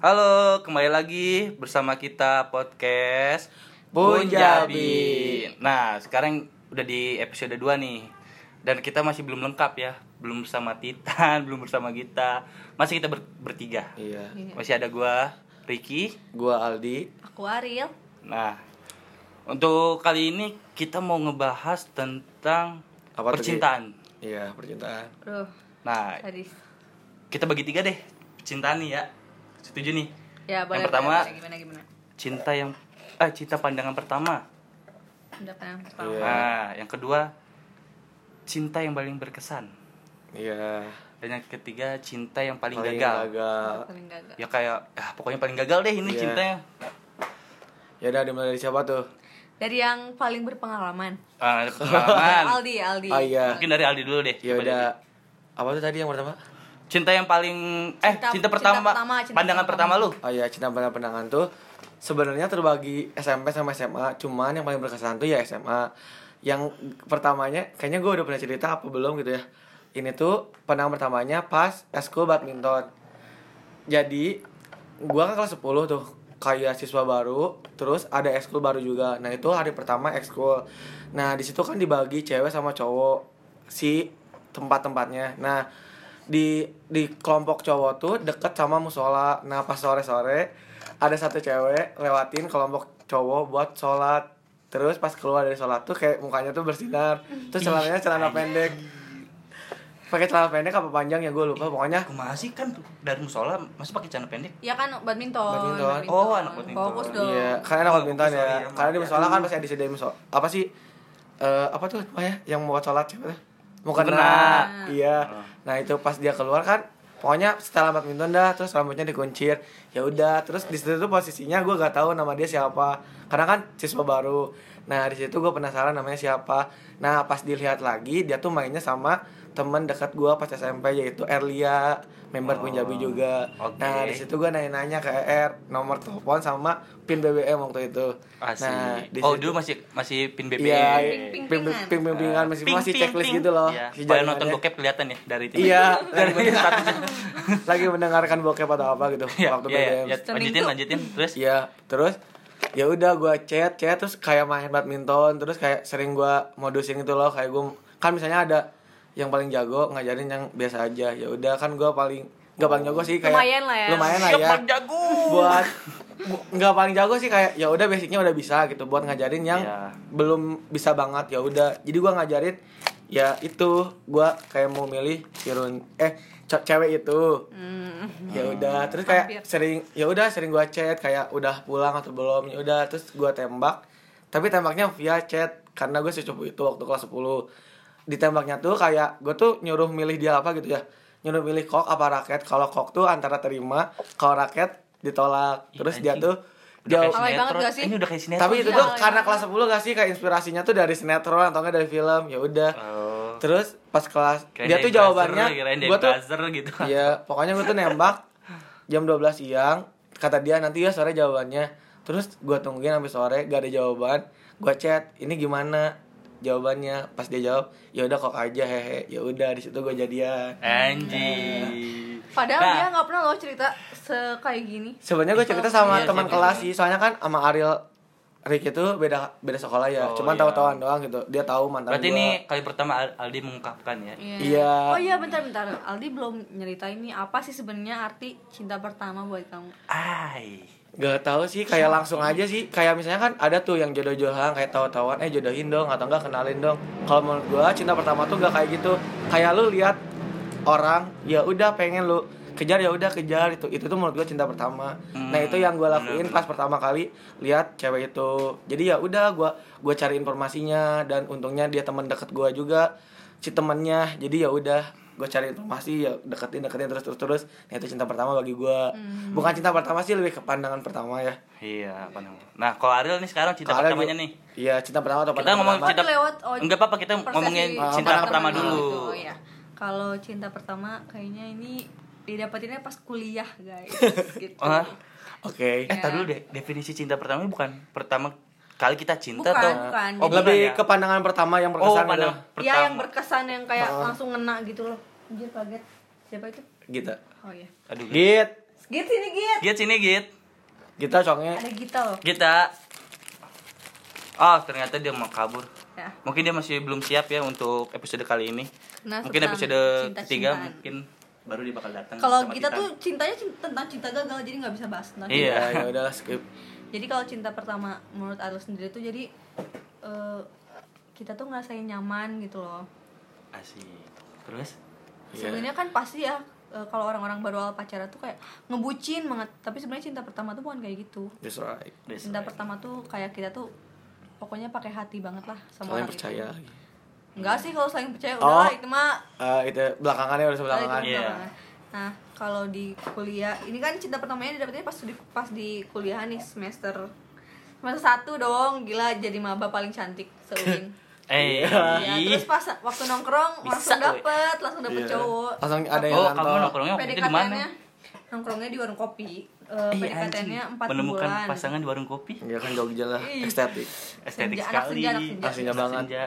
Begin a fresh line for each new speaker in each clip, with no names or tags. Halo, kembali lagi bersama kita podcast
Punjabi.
Nah, sekarang udah di episode 2 nih. Dan kita masih belum lengkap ya. Belum bersama Titan, belum bersama kita. Masih kita ber- bertiga.
Iya.
Masih ada gua, Ricky.
Gua Aldi.
Aku Ariel.
Nah, untuk kali ini kita mau ngebahas tentang
Apa tuh, Ki?
percintaan.
Iya, percintaan.
Aduh,
Nah,
sadis.
kita bagi tiga deh percintaan nih ya. Setuju nih?
Ya, boleh.
yang pertama,
boleh, boleh. gimana gimana?
cinta yang ah cinta pandangan pertama.
Udah pernah pertama.
Iya.
Nah, yang kedua cinta yang paling berkesan
Iya.
dan yang ketiga cinta yang paling,
Paling
gagal.
gagal.
Paling gagal.
Ya kayak ah, pokoknya paling gagal deh ini
Iya.
cintanya.
Ya udah dimulai dari siapa tuh?
Dari yang paling berpengalaman.
Ah, ada pengalaman.
Aldi, Aldi.
Ah,
Oh iya.
Mungkin dari Aldi dulu deh.
Ya
Coba
udah
dari-
apa tuh tadi yang pertama?
Cinta yang paling eh cinta,
Cinta- cinta
pertama,
pertama, cinta
pandangan pertama,
pertama.
lu.
Oh iya, cinta pada penangan tuh sebenarnya terbagi SMP sama SMA, cuman yang paling berkesan tuh ya SMA. Yang pertamanya kayaknya gua udah pernah cerita apa belum gitu ya. Ini tuh penangan pertamanya pas eskul badminton. Jadi gua kan kelas 10 tuh kayak siswa baru, terus ada ekskul baru juga. Nah, itu hari pertama ekskul. Nah, di situ kan dibagi cewek sama cowok si tempat-tempatnya. Nah, di di kelompok cowok tuh deket sama musola. Nah, pas sore-sore ada satu cewek lewatin kelompok cowok buat sholat. Terus pas keluar dari sholat tuh kayak mukanya tuh bersinar. Terus celananya celana pendek. Pakai celana pendek apa panjang ya gue lupa pokoknya.
Aku masih kan dari musola masih pakai celana pendek.
Ya kan badminton.
Badminton.
Oh, anak badminton.
Fokus dong.
Iya, karena enak
Oh,
badminton
sorry,
ya.
ya, maaf
Karena di
ya.
musola kan pasti ada disediain musola. Apa sih? Eh apa tuh namanya yang mau sholat siapa tuh? Mau
Mukena.
kena.
Ah.
Iya. Nah, itu pas dia keluar kan pokoknya setelah badminton dah terus rambutnya dikuncir. Ya udah, terus di situ tuh posisinya gua gak tahu nama dia siapa. Karena kan siswa baru. Nah, di situ gua penasaran namanya siapa. Nah, pas dilihat lagi dia tuh mainnya sama temen dekat gua pas SMP yaitu Erlia, member
Oh.
Punjabi juga.
Oke.
Nah, di situ itu gue nanya-nanya ke ER nomor telepon sama pin BBM waktu itu.
Asik.
Nah, di
oh,
situ-
dulu masih masih pin BBM.
Iya, ping
Ping-ping.
ping bimbingan masih
Ping,
masih
ping,
checklist
ping.
gitu loh.
Iya.
si
Kalau nonton
jaringannya.
bokep kelihatan ya dari itu.
Iya, dari lagi mendengarkan bokep atau apa gitu
Iya,
waktu
iya,
BBM.
iya. lanjutin, lanjutin, terus
Iya, terus ya udah gue chat chat terus kayak main badminton terus kayak sering gue modusin gitu loh kayak gue kan misalnya ada yang paling jago ngajarin yang biasa aja ya udah kan gue paling nggak paling jago sih kayak
Lumayan lah ya.
lumayan lah
Siap,
ya
Bang Jago.
buat bu- nggak paling jago sih kayak ya udah basicnya udah bisa gitu buat ngajarin yang
Iya.
belum bisa banget ya udah jadi gua ngajarin ya itu gua kayak mau milih Kirun eh ce- cewek itu
Hmm.
ya
Hmm.
udah terus kayak
Hampir.
sering ya udah sering gua chat kayak udah pulang atau belum ya udah terus gua tembak tapi tembaknya via chat karena gue secupu itu waktu kelas 10 ditembaknya tuh kayak gue tuh nyuruh milih dia apa gitu ya nyuruh milih kok apa raket kalau kok tuh antara terima kalau raket ditolak terus dia
anjing.
tuh
Udah kayak
jauh
Alay banget
sinetron.
gak sih?
Ini udah kayak sinetron. gitu ya.
tapi itu
Iya,
tuh
iya.
karena kelas 10 gak sih kayak inspirasinya tuh dari sinetron atau enggak dari film ya udah
Oh.
terus pas kelas
Kirain
dia
dari
tuh
buzzer,
jawabannya
kirain dari
gue tuh
buzzer gitu.
iya pokoknya gue tuh nembak jam 12 siang kata dia nanti ya sore jawabannya terus gue tungguin sampai sore gak ada jawaban gue chat ini gimana jawabannya pas dia jawab ya udah kok aja hehe ya udah di situ gue jadian
Anjing.
Padahal
Nah,
dia nggak pernah loh cerita sekayak gini.
sebenarnya gue cerita sama
Iya,
teman
cerita.
kelas sih soalnya kan sama Ariel Ricky tuh beda beda sekolah ya
Oh,
cuman
iya.
tahu-tahuan doang gitu dia tahu mantan
Berarti
gua.
ini kali pertama Al- Aldi mengungkapkan ya.
Iya.
Oh iya bentar-bentar Aldi belum nyeritain nih apa sih sebenarnya arti cinta pertama buat kamu
Ai.
Gak tahu sih, kayak langsung aja sih. Kayak misalnya kan ada tuh yang jodoh-jodohan kayak tahu-tahuan eh jodohin dong atau enggak kenalin dong. Kalau menurut gua cinta pertama tuh gak kayak gitu. Kayak lu lihat orang, ya udah pengen lu kejar ya udah kejar itu. Itu tuh menurut gua cinta pertama. nah, itu yang gua lakuin pas pertama kali lihat cewek itu. Jadi ya udah gua gua cari informasinya dan untungnya dia teman deket gua juga si temannya. Jadi ya udah gue cari informasi ya deketin deketin terus terus terus nah, itu cinta pertama bagi gua
Hmm.
bukan cinta pertama sih lebih ke pandangan pertama ya
Iya, apa namanya? Nah, kalau Ariel nih sekarang cinta
Kalau ada
pertamanya
gua-
nih.
iya cinta pertama atau
Kita
pandangan
ngomong
pertama?
cinta
Tapi lewat, oh,
Enggak apa-apa kita
persepsi
ngomongin
Ah,
cinta pertama
pertama
dulu.
gitu, oh iya. Kalau cinta pertama kayaknya ini didapetinnya pas kuliah guys gitu.
Oh, Hah?
oke
Eh,
Iya.
tar dulu deh. Definisi cinta pertama bukan pertama kali kita cinta
Bukan,
atau
bukan.
Oh,
Jadi-
lebih
bukan ya?
ke pandangan pertama
Oh,
yang berkesan gitu
pandang pertama.
Iya yang berkesan yang kayak langsung ngena gitu loh. Anjir kaget. Siapa itu?
gitu
Oh iya.
Aduh,
git
Git sini Git.
Git sini Git.
Kita soalnya
Ada Gita loh.
Gita. Oh, ternyata dia mau kabur.
Ya.
Mungkin dia masih belum siap ya untuk episode kali ini.
Karena
mungkin
tentang
episode
cinta-cintaan.
ketiga mungkin baru dia bakal datang.
Kalau
sama
kita
Titan.
tuh cintanya cinta, tentang cinta gagal jadi nggak bisa bahas tentang
Iya.
ya, ya udahlah skip.
Jadi kalau cinta pertama menurut Arul sendiri tuh jadi eh, kita tuh ngerasain nyaman gitu loh.
asik. Terus
Iya.
Sebenarnya kan pasti ya eh, kalau orang-orang baru awal pacaran tuh kayak ngebucin banget. Tapi sebenarnya cinta pertama tuh bukan kayak gitu.
That's right.
Terus.
Cinta pertama tuh kayak kita tuh pokoknya pakai hati banget lah
Kalian
sama orang itu.
percaya.
Enggak sih kalau saling percaya
Oh.
udah lah itu mah
Eh itu belakangannya udah sebelakangan.
Balik ke
Iya.
belakangan. Nah, kalau di kuliah, ini kan cinta pertamanya didapetnya pas di pas di kuliah nih semester semester satu dong, gila jadi maba paling cantik seuin.
Eh,
Iya, terus pas waktu nongkrong
Bisa,
langsung
we.
dapet, langsung dapet
Iya.
cowok.
Langsung ada yang
Oh,
nantol.
kamu nongkrongnya waktu itu di mana?
PDKT-nya ya. nongkrongnya di warung kopi. Eh,
Iya,
PDKT-nya
anjing.
empat
Menemukan
bulan.
pasangan di warung kopi.
Iya kan Jogja lah,
Ih.
estetik.
Estetik
Senja, anak
sekali.
senja, anak senja.
Ah, senja
Anak
banget.
senja.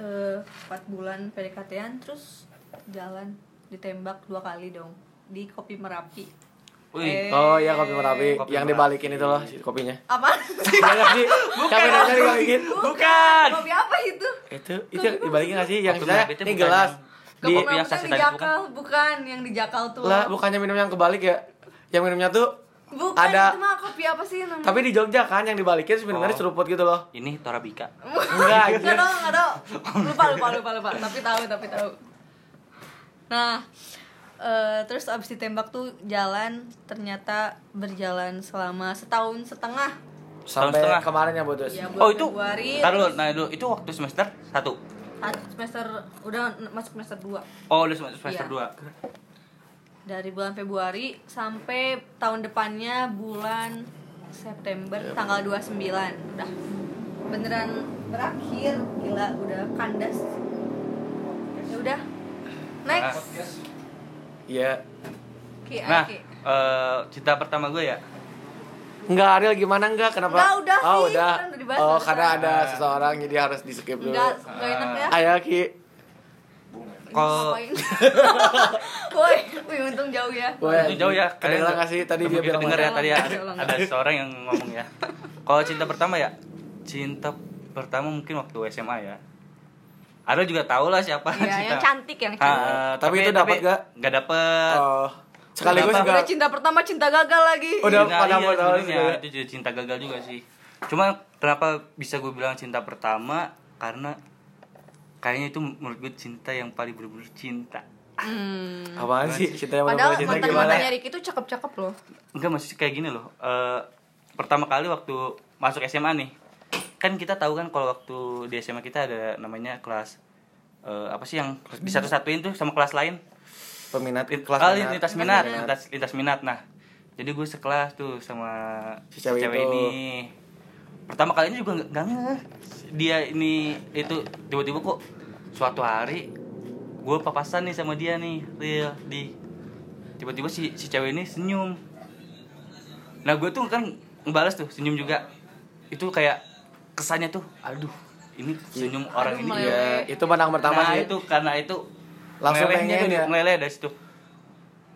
Eh, empat bulan PDKT-an terus jalan ditembak dua kali dong di kopi Merapi.
Wih.
Eh,
Oh iya kopi Merapi
Kopi
yang
Merapi.
dibalikin itu loh si kopinya.
apa?
Iya nggak sih? Siapa yang nyari kayak gitu?
Bukan.
Kopi apa itu?
Itu itu dibalikin nggak sih yang
Kopi
saya
Merapi itu
ini
bukan
gelas
yang-
di
Kopi
Kopi yang
Merapi
sasetan
yang di
itu
jakal, bukan yang di jakal tuh.
lah bukannya minum yang kebalik ya? Yang minumnya tuh
bukan
ada-
itu mah kopi apa sih namanya?
tapi di Jogja kan yang dibalikin terus
Oh.
minumnya diseruput gitu loh.
Ini Torabika.
Enggak, anjir.
Enggak tahu, enggak tahu. Lupa, lupa, lupa, lupa. Tapi tahu, tapi tahu. Nah, eh, terus abis ditembak tuh jalan ternyata berjalan selama setahun setengah
Sampai
setengah.
kemarin ya putus.
ya bulan
Oh, itu.
Februari
Ntar dulu, nah dulu itu waktu semester 1.
saat semester udah n- masuk semester 2
Oh, udah semester semester
Iya.
2.
dari bulan Februari sampai tahun depannya bulan September tanggal 29 udah beneran berakhir gila udah kandas ya udah next
Iya.
Ki,
Nah,
Ki.
eh cinta pertama gue ya.
Enggak, Ariel gimana enggak? Kenapa?
Enggak, udah
oh,
sih.
udah.
Kan udah dibahas
oh,
barusan.
karena ada seseorang jadi harus di-skip dulu.
nggak nggak enak ya
Ayo, Ki.
Kalau-
Ngapain? woi woi untung jauh ya
Woi,
Itu jauh ya.
Kedengeran enggak iya, sih tadi dia
begitu
bilang
denger ya
mana?
tadi ya.
Ulang, ulang.
Ada seorang yang ngomong ya. Kalau cinta pertama ya, cinta pertama mungkin waktu SMA ya. Ada juga tau lah siapa
Iya, yang
cinta.
cantik yang cantik
Ah,
Tapi itu dapat nggak?
Nggak dapet.
Oh. Sekaligus
Kenapa?
juga
udah cinta pertama cinta gagal lagi
Udah
Nah,
pada
iya,
mau tahu
sebenarnya
juga. ya.
itu juga cinta gagal juga sih. Cuma kenapa bisa gue bilang cinta pertama karena kayaknya itu menurut gue cinta yang paling bener-bener cinta.
Hmm.
Apaan sih? Cinta yang
Padahal
bener-bener cinta
mantan
gimana?
mantannya Ricky tuh cakep-cakep loh.
Enggak maksudnya kayak gini loh. Eh, pertama kali waktu masuk SMA nih. Kan kita tahu kan kalau waktu di SMA kita ada namanya kelas eh, apa sih yang disatu-satuin tuh sama kelas lain?
Peminat
Lin-
kelas
ah,
mana?
lintas minat, lintas lintas minat. Nah, jadi gue sekelas tuh sama
Si cewek itu.
ini. Pertama kalinya juga nggak nggak ngeh. Dia ini itu tiba-tiba kok suatu hari gue papasan nih sama dia nih, Lil, di tiba-tiba si si cewek ini senyum. Nah, gue tuh kan ngebales tuh senyum juga. Itu kayak kesannya tuh, aduh, ini senyum orang
Aduh,
ini
meleleh.
Iya, itu menang pertama
nah,
sih.
itu karena itu
Langsung
melelehnya
pengen
tuh,
ya.
meleleh dari situ.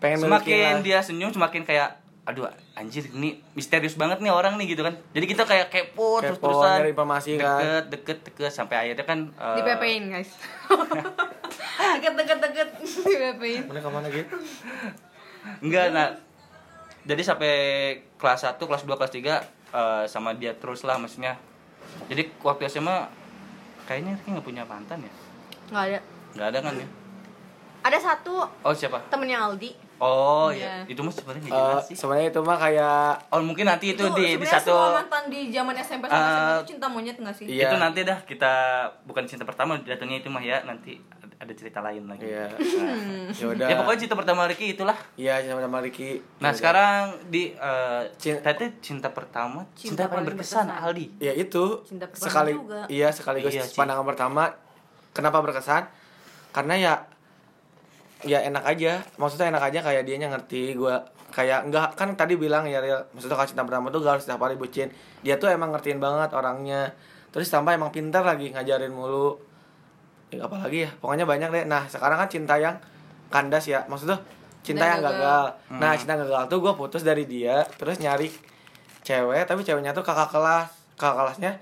Pengen
semakin
milikin lah.
dia senyum semakin kayak aduh anjir ini misterius banget nih orang nih gitu kan. Jadi kita kayak kepo,
Kepo,
terus-terusan
nyari informasi kan.
deket, deket, deket sampai akhirnya kan eh,
Di PPin guys. Deket-deket-deket di PPin.
Mana kemana gitu?
Enggak, nah. Jadi sampai kelas 1, kelas 2, kelas 3 eh, sama dia terus lah maksudnya. Jadi waktu SMA kayaknya Ricky nggak punya mantan ya?
Enggak ada.
Nggak ada kan ya?
Ada satu
Oh siapa?
temennya Aldi.
Oh
Iya.
ya, itu mah sebenarnya nggak
Eh,
jelas sih.
sebenarnya itu mah kayak
Oh mungkin nanti itu, di, di
sebenarnya
satu
semua mantan di zaman SMP sama SMA
Eh,
tuh cinta monyet enggak sih?
Iya.
Itu nanti dah kita bukan cinta pertama datangnya itu mah ya nanti ad- ada cerita lain lagi.
Iya.
Nah.
ya udah.
Ya pokoknya cinta pertama Ricky itulah.
Iya, sama-sama Riki.
Nah sekarang di eh,
Iya, Cin-
tadi cinta pertama
Cinta
cinta, paling
paling
berkesan,
berkesan.
Aldi.
ya itu
Cinta pertama
sekali
juga.
iya sekaligus
Iya sih.
pandangan pertama kenapa berkesan karena ya ya enak aja maksudnya enak aja kayak dia ngerti gue kayak enggak kan tadi bilang ya Ril, maksudnya kalau cinta pertama tuh gak harus setiap hari bucin dia tuh emang ngertiin banget orangnya terus tambah emang pintar lagi ngajarin mulu Eh, ya, apalagi ya pokoknya banyak deh nah sekarang kan cinta yang kandas ya maksudnya cinta yang
Dan
gagal.
gagal.
Hmm.
Nah, cinta yang gagal tuh gue putus dari dia, terus nyari cewek, tapi ceweknya tuh kakak kelas, kakak kelasnya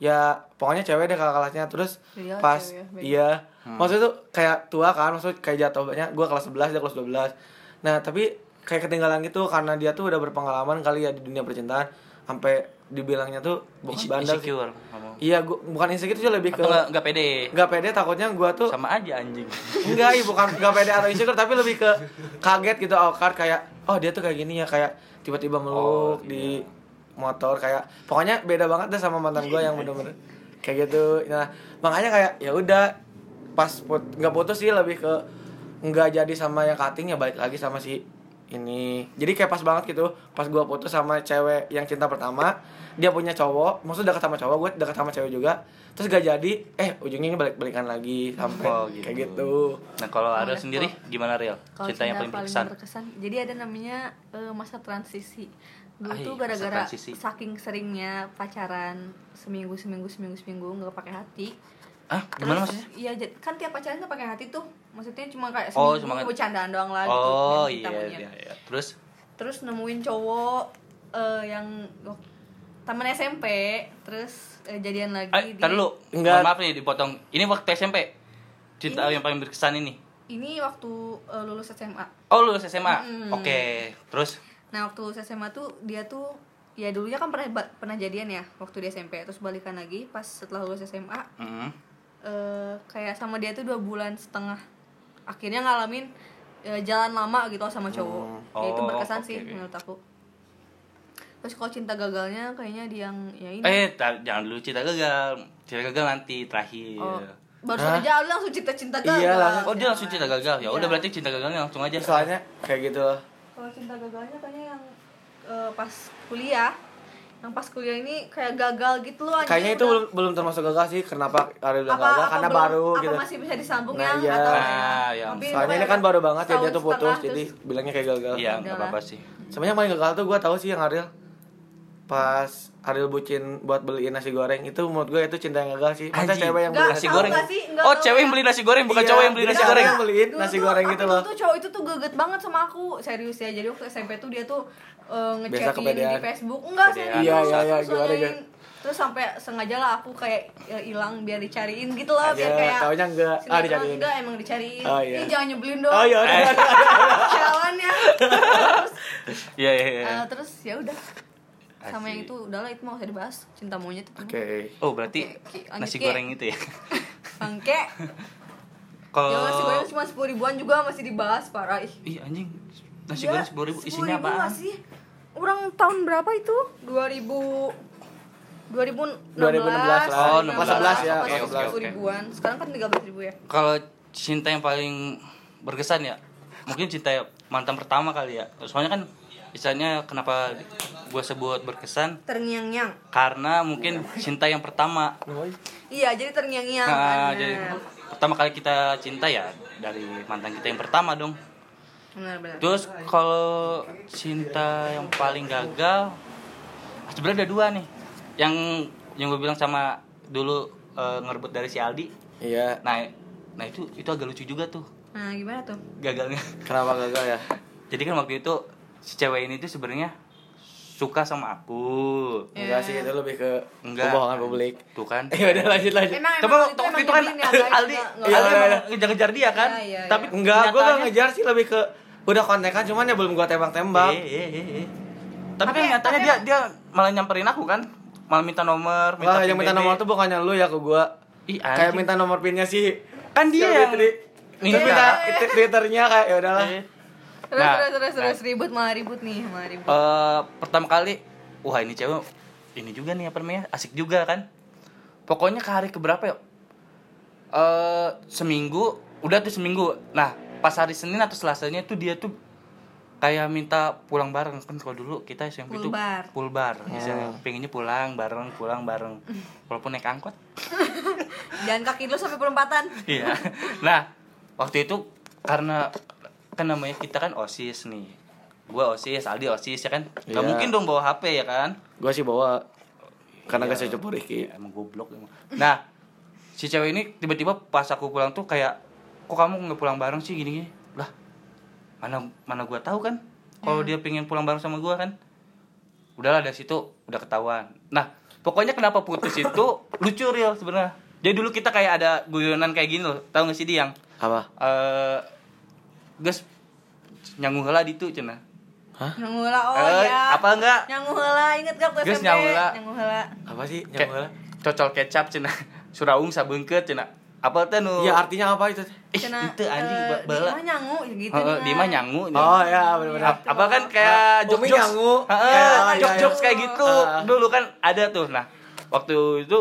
ya pokoknya cewek deh kakak kelasnya terus
Iya,
pas
cewek, baik.
iya
Hmm.
maksudnya tuh kayak tua kan maksudnya kayak jatuh banyak gue kelas 11 dia kelas 12 nah tapi kayak ketinggalan gitu karena dia tuh udah berpengalaman kali ya di dunia percintaan sampai dibilangnya tuh bukan
Inse-
bandel sih.
insecure ngomong.
iya gua, bukan insecure sih lebih ke
Atau nggak nggak pede.
nggak pede takutnya gue tuh
Sama aja anjing.
Enggak, iya, bukan gak pede atau insecure tapi lebih ke kaget gitu awkward kayak oh dia tuh kayak gini ya kayak tiba-tiba meluk di motor kayak pokoknya beda banget deh sama mantan gue yang bener-bener kayak gitu. Nah, makanya kayak ya udah pas put nggak putus sih lebih ke nggak jadi sama yang cutting ya balik lagi sama si ini jadi kayak pas banget gitu pas gua putus sama cewek yang cinta pertama dia punya cowok maksudnya dekat sama cowok gue dekat sama cewek juga terus gak jadi eh ujungnya ini balik balikan lagi sampai
Oh, gitu.
kayak gitu
Nah kalau
Oh,
Ariel
level.
sendiri gimana Ariel?
Kalau
Cinta yang paling berkesan.
jadi ada namanya eh, masa transisi dulu
Ay, Ah, iya,
tuh
masa
gara-gara
transisi.
saking seringnya pacaran seminggu seminggu seminggu seminggu nggak pakai hati
Ah gimana
Terus,
maksudnya?
Iya, jad- kan tiap pacaran tuh pakai hati tuh. Maksudnya cuma kayak
Oh,
seminggu
cuma kan-
bercandaan doang lah gitu.
Oh
yang kita
iya,
punya.
iya, iya. Terus
Terus nemuin cowok eh, yang wak- temen SMP, terus eh, jadian lagi
Eh,
di-
tar dulu.
Enggak.
Mohon Maaf nih dipotong. Ini waktu SMP. Cinta yang paling berkesan ini.
Ini waktu eh, lulus SMA.
Oh, lu SMA.
Mm.
Oke. Terus
Nah, waktu lulus SMA tuh dia tuh ya dulunya kan pernah ba- pernah jadian ya waktu di SMP, terus balikan lagi pas setelah lulus SMA
mm,
eh, kayak sama dia tuh dua bulan setengah akhirnya ngalamin eh, jalan lama gitu sama cowok
Hmm.
ya itu
Oh,
berkesan
oke,
sih
oke.
menurut aku terus kalau cinta gagalnya kayaknya dia yang ya ini
eh tar- jangan dulu cinta gagal. Cinta gagal nanti terakhir.
oh, baru
Hah?
saja lu langsung cinta cinta
Iya,
gagal
langsung.
Oh, dia langsung cinta gagal. Ya udah
Iya.
berarti cinta gagalnya langsung aja.
ya soalnya kayak gitu loh
kalau cinta gagalnya kayaknya yang eh, pas kuliah yang pas kuliah ini kayak gagal gitu loh anjing,
kayaknya itu
udah-
belum, belum termasuk gagal sih kenapa Ariel bilang gagal karena
belum-
baru
apa
gitu
masih bisa disambung
Nah,
yang
iya.
atau
Nah, yang-
Tapi
soalnya ini
kayak
kan baru banget ya dia
setahun
tuh putus
setengah,
jadi
terus-
bilangnya kayak gagal
Iya,
Udah
enggak
lah.
apa-apa sih.
Sebenarnya yang paling gagal tuh gue tahu sih yang Ariel pas Ariel bucin buat beliin nasi goreng itu menurut gue itu cinta yang gagal sih masa
Anjing,
cewek yang beli nasi
Nggak,
nasi
tahu
goreng
goreng.
nggak sih? Nggak
oh,
tahu
cewek
ya.
yang beli nasi goreng bukan
Iya,
cowok yang beli
jadi
nasi
cewek
goreng.
yang beliin
Dulu
nasi
tuh
goreng
aku
gitu
dulu
loh
tuh cowok itu tuh geget banget sama aku serius ya jadi waktu SMP tuh dia tuh eh,
Biasa
ngechatin
kepedean.
di Facebook enggak
Kepedean.
serius
Iya,
iya, iya,
terus
gimana,
nanyain.
gimana?
terus sampai sengaja lah aku kayak ya, hilang biar dicariin gitu loh biar
Iya,
kayak
taunya enggak. Ah,
sinetron
dicariin.
enggak emang dicariin
Oh, iya.
Ih, jangan nyebelin dong
oh iya udah, udah, udah.
jalan ya terus
Iya, iya, iya.
eh, terus ya udah sama
Asik.
yang itu udahlah itu mau usah dibahas cinta monyet itu
oke
Oh, berarti
Oke, oke, lanjut,
nasi
Ki.
goreng itu ya.
bangke
Oh.
ya nasi
Kalau
goreng cuma sepuluh ribuan juga masih dibahas parah ih
Ih, anjing. Nasi
Iya,
goreng 10 ribu isinya
10.000
apaan?
masih. Orang tahun berapa itu? 2000 2016,
2016 lah.
Oh,
16 ya.
Oke,
Oke, oke,
oke.
ribuan. Sekarang kan 13 ribu ya.
Kalau cinta yang paling berkesan ya, mungkin cinta mantan pertama kali ya. Soalnya kan misalnya kenapa gua sebut berkesan
Terngiang-ngiang.
karena mungkin cinta yang pertama.
Iya, jadi terngiang-ngiang. kan.
Nah,
Benar.
jadi pertama kali kita cinta ya dari mantan kita yang pertama dong.
Benar, benar.
Terus kalau cinta yang paling gagal ah, sebenarnya ada dua nih. Yang yang gue bilang sama dulu eh, ngerebut dari si Aldi.
iya
Nah, nah itu itu agak lucu juga tuh
Nah, gimana tuh?
gagalnya.
kenapa gagal ya
Jadi kan waktu itu si cewek ini tuh sebenarnya suka sama aku.
enggak
Iya.
sih itu lebih ke
Enggak.
kebohongan publik
Tuh kan.
ya udah lanjut lanjut
Emang
Tapi
emang
waktu waktu itu
emang
kan
nyebelin ya, guys.
Aldi
Nggak-
Aldi
nggak-
Iya,
emang ngejar-ngejar dia kan.
Iya, iya,
Tapi
iya.
enggak gue gak
kenyataannya-
ngejar sih lebih ke udah kontekan cuman ya belum gue tembak-tembak
Iya, iya, iya, iya. Tapi,
Tapi-
kan nyatanya
tapi-
dia dia malah nyamperin aku kan. Malah minta nomor, minta
Wah,
PBB.
yang minta nomor tuh bukannya lu ya ke gua.
Ih, anjing.
Kayak minta nomor pinnya sih.
Kan dia yang-
Fitri.
Iya.
Terus minta Twitternya kayak ya udahlah.
Eh,
Terus,
Nah,
terus, terus,
nah.
terus ribut malah ribut nih, malah ribut.
eh, pertama kali, wah ini cewek ini juga nih apa namanya? Asik juga kan. Pokoknya ke hari keberapa ya? Eh seminggu, udah tuh seminggu. Nah, pas hari Senin atau Selasanya tuh dia tuh kayak minta pulang bareng kan kalau dulu kita SMP tuh
Pulbar.
pulbar misalnya pengennya pulang bareng pulang bareng walaupun naik angkot
Jangan kaki lu sampai perempatan.
Iya. Nah, waktu itu karena kan namanya kita kan OSIS nih. Gua OSIS, Aldi OSIS ya kan. Gak
Iya.
mungkin dong bawa HP ya kan.
Gua sih bawa karena gak saya cupu Riki.
Ya, emang goblok emang. Nah, si cewek ini tiba-tiba pas aku pulang tuh kayak kok kamu nggak pulang bareng sih gini-gini. Lah, mana mana gua tahu kan kalau dia pengen pulang bareng sama gua kan udahlah dari situ udah ketahuan nah pokoknya kenapa putus itu lucu real sebenarnya jadi dulu kita kayak ada guyonan kayak gini loh tahu nggak sih di yang
apa
eh guys nyangguh lah di itu cina
Nyangula oh
Eh,
ya.
apa enggak?
Nyangula inget gak tuh
Guys,
SMP?
nyangula.
Nyangula.
apa sih
Kayak
nyamuk lah
cocol kecap cina suraung sabengket cina apa tuh nu
ya artinya apa itu teh?
Ih, itu anjing
eh,
ba- bala
Di mah nyangu gitu.
Heeh,
Dina.
di mah nyangu nih.
oh ya benar-benar
Ap- apa kan kayak
Ah,
jok
Umi
jok
nyangu.
Heeh,
Kayak- ah, iya,
jok jokes
iya.
kayak gitu
Ah.
dulu kan ada tuh nah waktu itu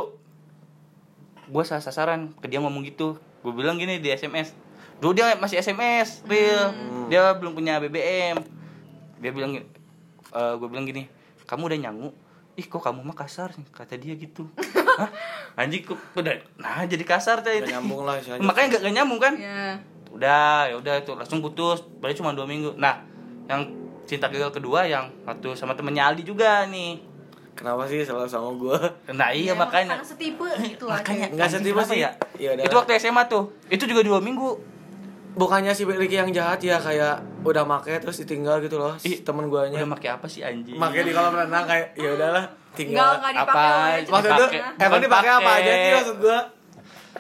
gue salah sasaran ke dia ngomong gitu gue bilang gini di sms dulu dia masih sms real
Hmm.
dia belum punya bbm dia bilang gue bilang gini kamu udah nyangu ih kok kamu mah kasar sih?" kata dia gitu Hah? anjing kok udah nah jadi kasar teh
Nggak nyambung lah istilahnya.
makanya gak, nyambung kan
Iya.
udah ya udah itu langsung putus berarti cuma dua minggu nah yang cinta gagal kedua yang waktu sama temennya Aldi juga nih
kenapa sih selalu sama gue
nah iya
Ya,
makanya
Karena setipe gitu aja.
makanya
Nggak
anjing,
setipe
kenapa
sih.
ya
Ya udah.
itu waktu SMA tuh itu juga dua minggu
bukannya si Ricky yang jahat ya kayak udah make terus ditinggal gitu loh
Ih,
si temen
udah
guanya
pakai apa sih anjing
make Iya. di kolam renang kayak ya udahlah
Enggak,
tinggal
enggak
Apa?
dipakai oleh
Maksud
maksud itu
Dipakai.
emang
Bukan
dipakai apa
pakai.
aja sih maksud gue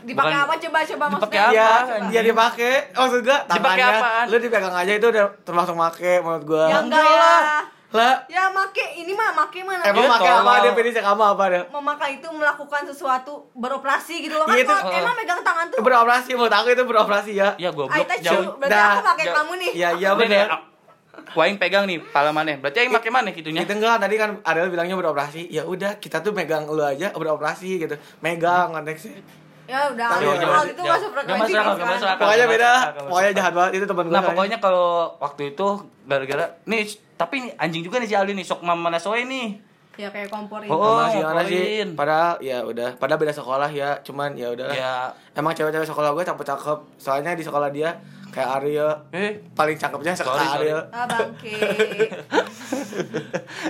Dipakai
Bukan-
apa coba coba
Dipakai
maksudnya?
ya
Apa,
dia dipakai maksud gue tangannya
apaan?
lu dipegang aja itu udah termasuk make menurut gue
Ya enggak ya.
lah
Ya make ini mah make mana?
emang
Ya,
make apa
tolong.
definisi kamu apa deh
memakai itu melakukan sesuatu beroperasi gitu loh kan
Iya, itu-
kalau emang megang tangan tuh
beroperasi menurut aku itu beroperasi ya
ya gue
I
blok
touch you
jauh
berarti
Dah,
aku pakai
jauh.
kamu nih
Iya iya
Ini nih,
benar.
ah, Waing pegang nih pala mana berarti yang pakai mana gitunya
Kita enggak tadi kan Ariel bilangnya beroperasi. Ya udah, kita tuh megang lu aja beroperasi gitu. Megang konteksnya.
ya udah
Tapi
Jauh,
ya,
jauh,
kalau itu
jauh.
masuk gitu kan. frekuensi
Nggak masuk akal, nggak
sekarang.
masuk akal.
Pokoknya beda, lah.
Kalau-
pokoknya jahat banget itu temen gue.
Nah pokoknya kalau waktu itu gara-gara nih tapi ini anjing juga nih si Aldi nih sok mama nasoe nih
ya kayak kompor ini
Oh,
Sama si Yohana sih.
poin.
Padahal ya udah, padahal beda sekolah ya, cuman ya udah.
Ya.
Emang cewek-cewek sekolah gue cakep-cakep. Soalnya di sekolah dia kayak Ariel
eh
paling cakepnya sekolah
Sorry, sorry.
Ariel.
ah bangke
Iya.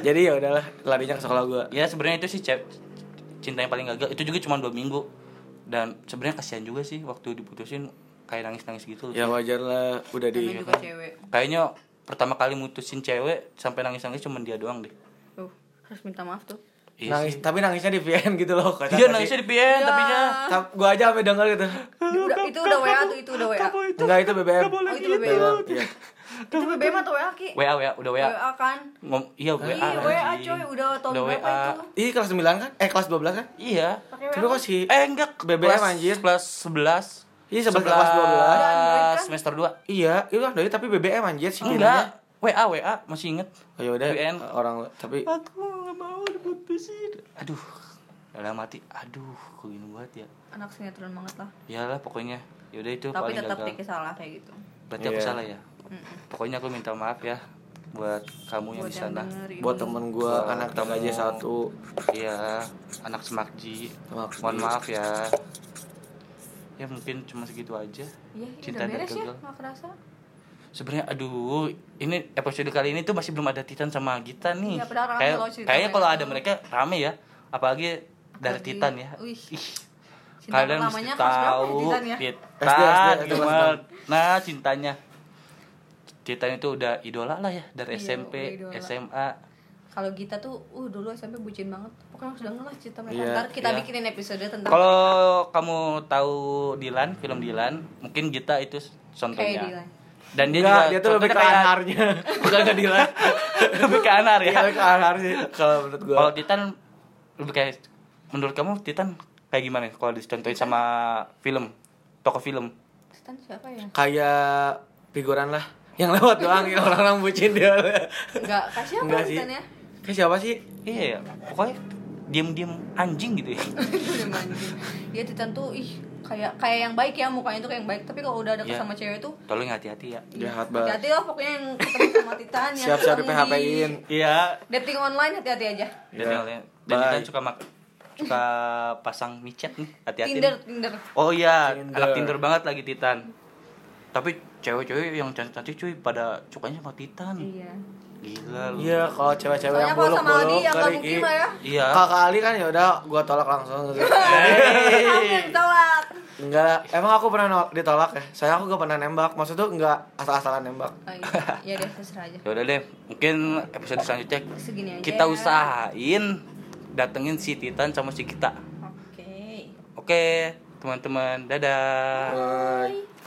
Jadi ya udahlah, larinya ke sekolah gue.
ya sebenarnya itu sih cep cinta yang paling gagal itu juga cuma dua minggu dan sebenarnya kasihan juga sih waktu diputusin kayak nangis nangis gitu loh.
Ya wajar lah, udah
namanya
di
juga cewek
kayaknya pertama kali mutusin cewek sampai nangis nangis cuma dia doang deh
tuh Uh, harus minta maaf tuh
iya
nangis,
sih.
tapi nangisnya di VN gitu loh. kata
dia Iya,
gua sih.
nangisnya di
Iya.
PN tapi nya
Tap- Gua aja sampe denger gitu.
udah, itu udah WA tuh itu udah WA oh
Enggak itu BBM.
itu BBM
gitu.
Iya.
itu BBM atau WA ki
WA WA udah WA
WA kan
Ngom iya WA
iya WA
anjing.
coy udah tahun
Udah
berapa
WA.
itu
Ih kelas 9 kan? Eh kelas 12 kan?
iya
pakai
Tapi
WA
kok si
eh enggak
BBM,
kelas-
anjir.
kelas sebelas
Iya, sebelas- kelas 12.
Udah Android kan?
semester dua
Iya, itu Android tapi BBM anjir sih
enggak WA WA masih inget
bedanya. Oh, yaudah
VN.
orang tapi
aku nggak mau diputusin aduh dalam hati aduh kok gini banget ya
anak sinetron banget lah
iyalah pokoknya yaudah itu
tapi
paling
tetap
gagal
tiki salah kayak gitu
berarti aku
Iya.
salah ya pokoknya aku minta maaf ya buat kamu yang
buat
di
yang
sana
denger ini
buat temen gua
Buat
anak
kamu.
tangga aja satu.
iya anak semakji
Semakji.
mohon maaf ya ya mungkin cuma segitu aja
Iya, ya
cinta
udah
dan
beres ya,
gagal
nggak kerasa.
sebenarnya aduh ini episode kali ini tuh masih belum ada Titan sama Gita nih
Iya, padahal rame
Kayak-
loh cerita
kayaknya
mereka.
kalau ada mereka rame ya apalagi dari
Apalagi-
Titan ya
Wih.
Ih,
Cinta
kalian mesti
pertamanya kelas berapa
tahu Iya.
ya, Titan ya?
SD,
Titan
SD,
gimana nah cintanya Titan itu udah idola lah ya dari
Iya,
SMP
udah idola.
SMA
Kalau Gita tuh, uh dulu SMP bucin banget. Pokoknya harus denger lah cerita mereka.
Iya,
Ntar kita
iya.
bikinin episode tentang
kalau kamu tahu Dilan film Dilan mungkin Gita itu contohnya
Kayak Dilan.
dan dia
Enggak,
juga
dia tuh lebih ke
contohnya kayak-
anarnya. Bukan ke Dila.
lebih ke anar
Iya,
ya
lebih ke anar sih kalau menurut gua.
Kalau Titan lebih kayak menurut kamu Titan kayak gimana kalau dicontohin sama film toko film?
Titan siapa ya?
Kayak figuran lah yang lewat doang yang orang-orang bucin dia.
Enggak, kasih apa
Enggak sih.
Titan ya?
Kayak siapa sih?
Iya ya, pokoknya diam-diam anjing gitu ya.
Udah mancing. Iya Titan tuh, ih kayak kayak yang baik ya mukanya tuh kayak yang baik. Tapi kalau udah deket
Iya.
sama cewek tuh,
Tolong hati-hati ya.
Jahat banget.
hati-hati lah pokoknya yang ketemu sama Titan yang
Siap-siap di
ketemu
PHP-in.
Iya.
Dating online hati-hati aja.
Dan,
Iya.
dan- dan
Bye.
Titan suka mak suka pasang micet nih, hati-hati.
Tinder,
nih.
Tinder.
Oh iya,
Tinder.
anak Tinder banget lagi Titan. Tapi cewek-cewek yang cantik-cantik cuy pada sukanya sama Titan.
Iya.
Gila lu.
Iya, kalau cewek-cewek
Soalnya
yang
kalau sama Aldi
buluk-buluk
ya nggak
kali
mungkin lah ya.
Iya.
Kakak Ali kan ya udah gua tolak langsung gitu.
Kamu yang tolak.
Enggak, emang aku pernah nol- ditolak ya? Saya aku gak pernah nembak, maksud tuh enggak asal-asalan nembak
Oh, iya. ya deh terserah aja
ya udah deh mungkin episode selanjutnya
Segini aja.
kita usahain datengin si Titan sama si kita
oke
Iya.
oke teman-teman dadah
Bye.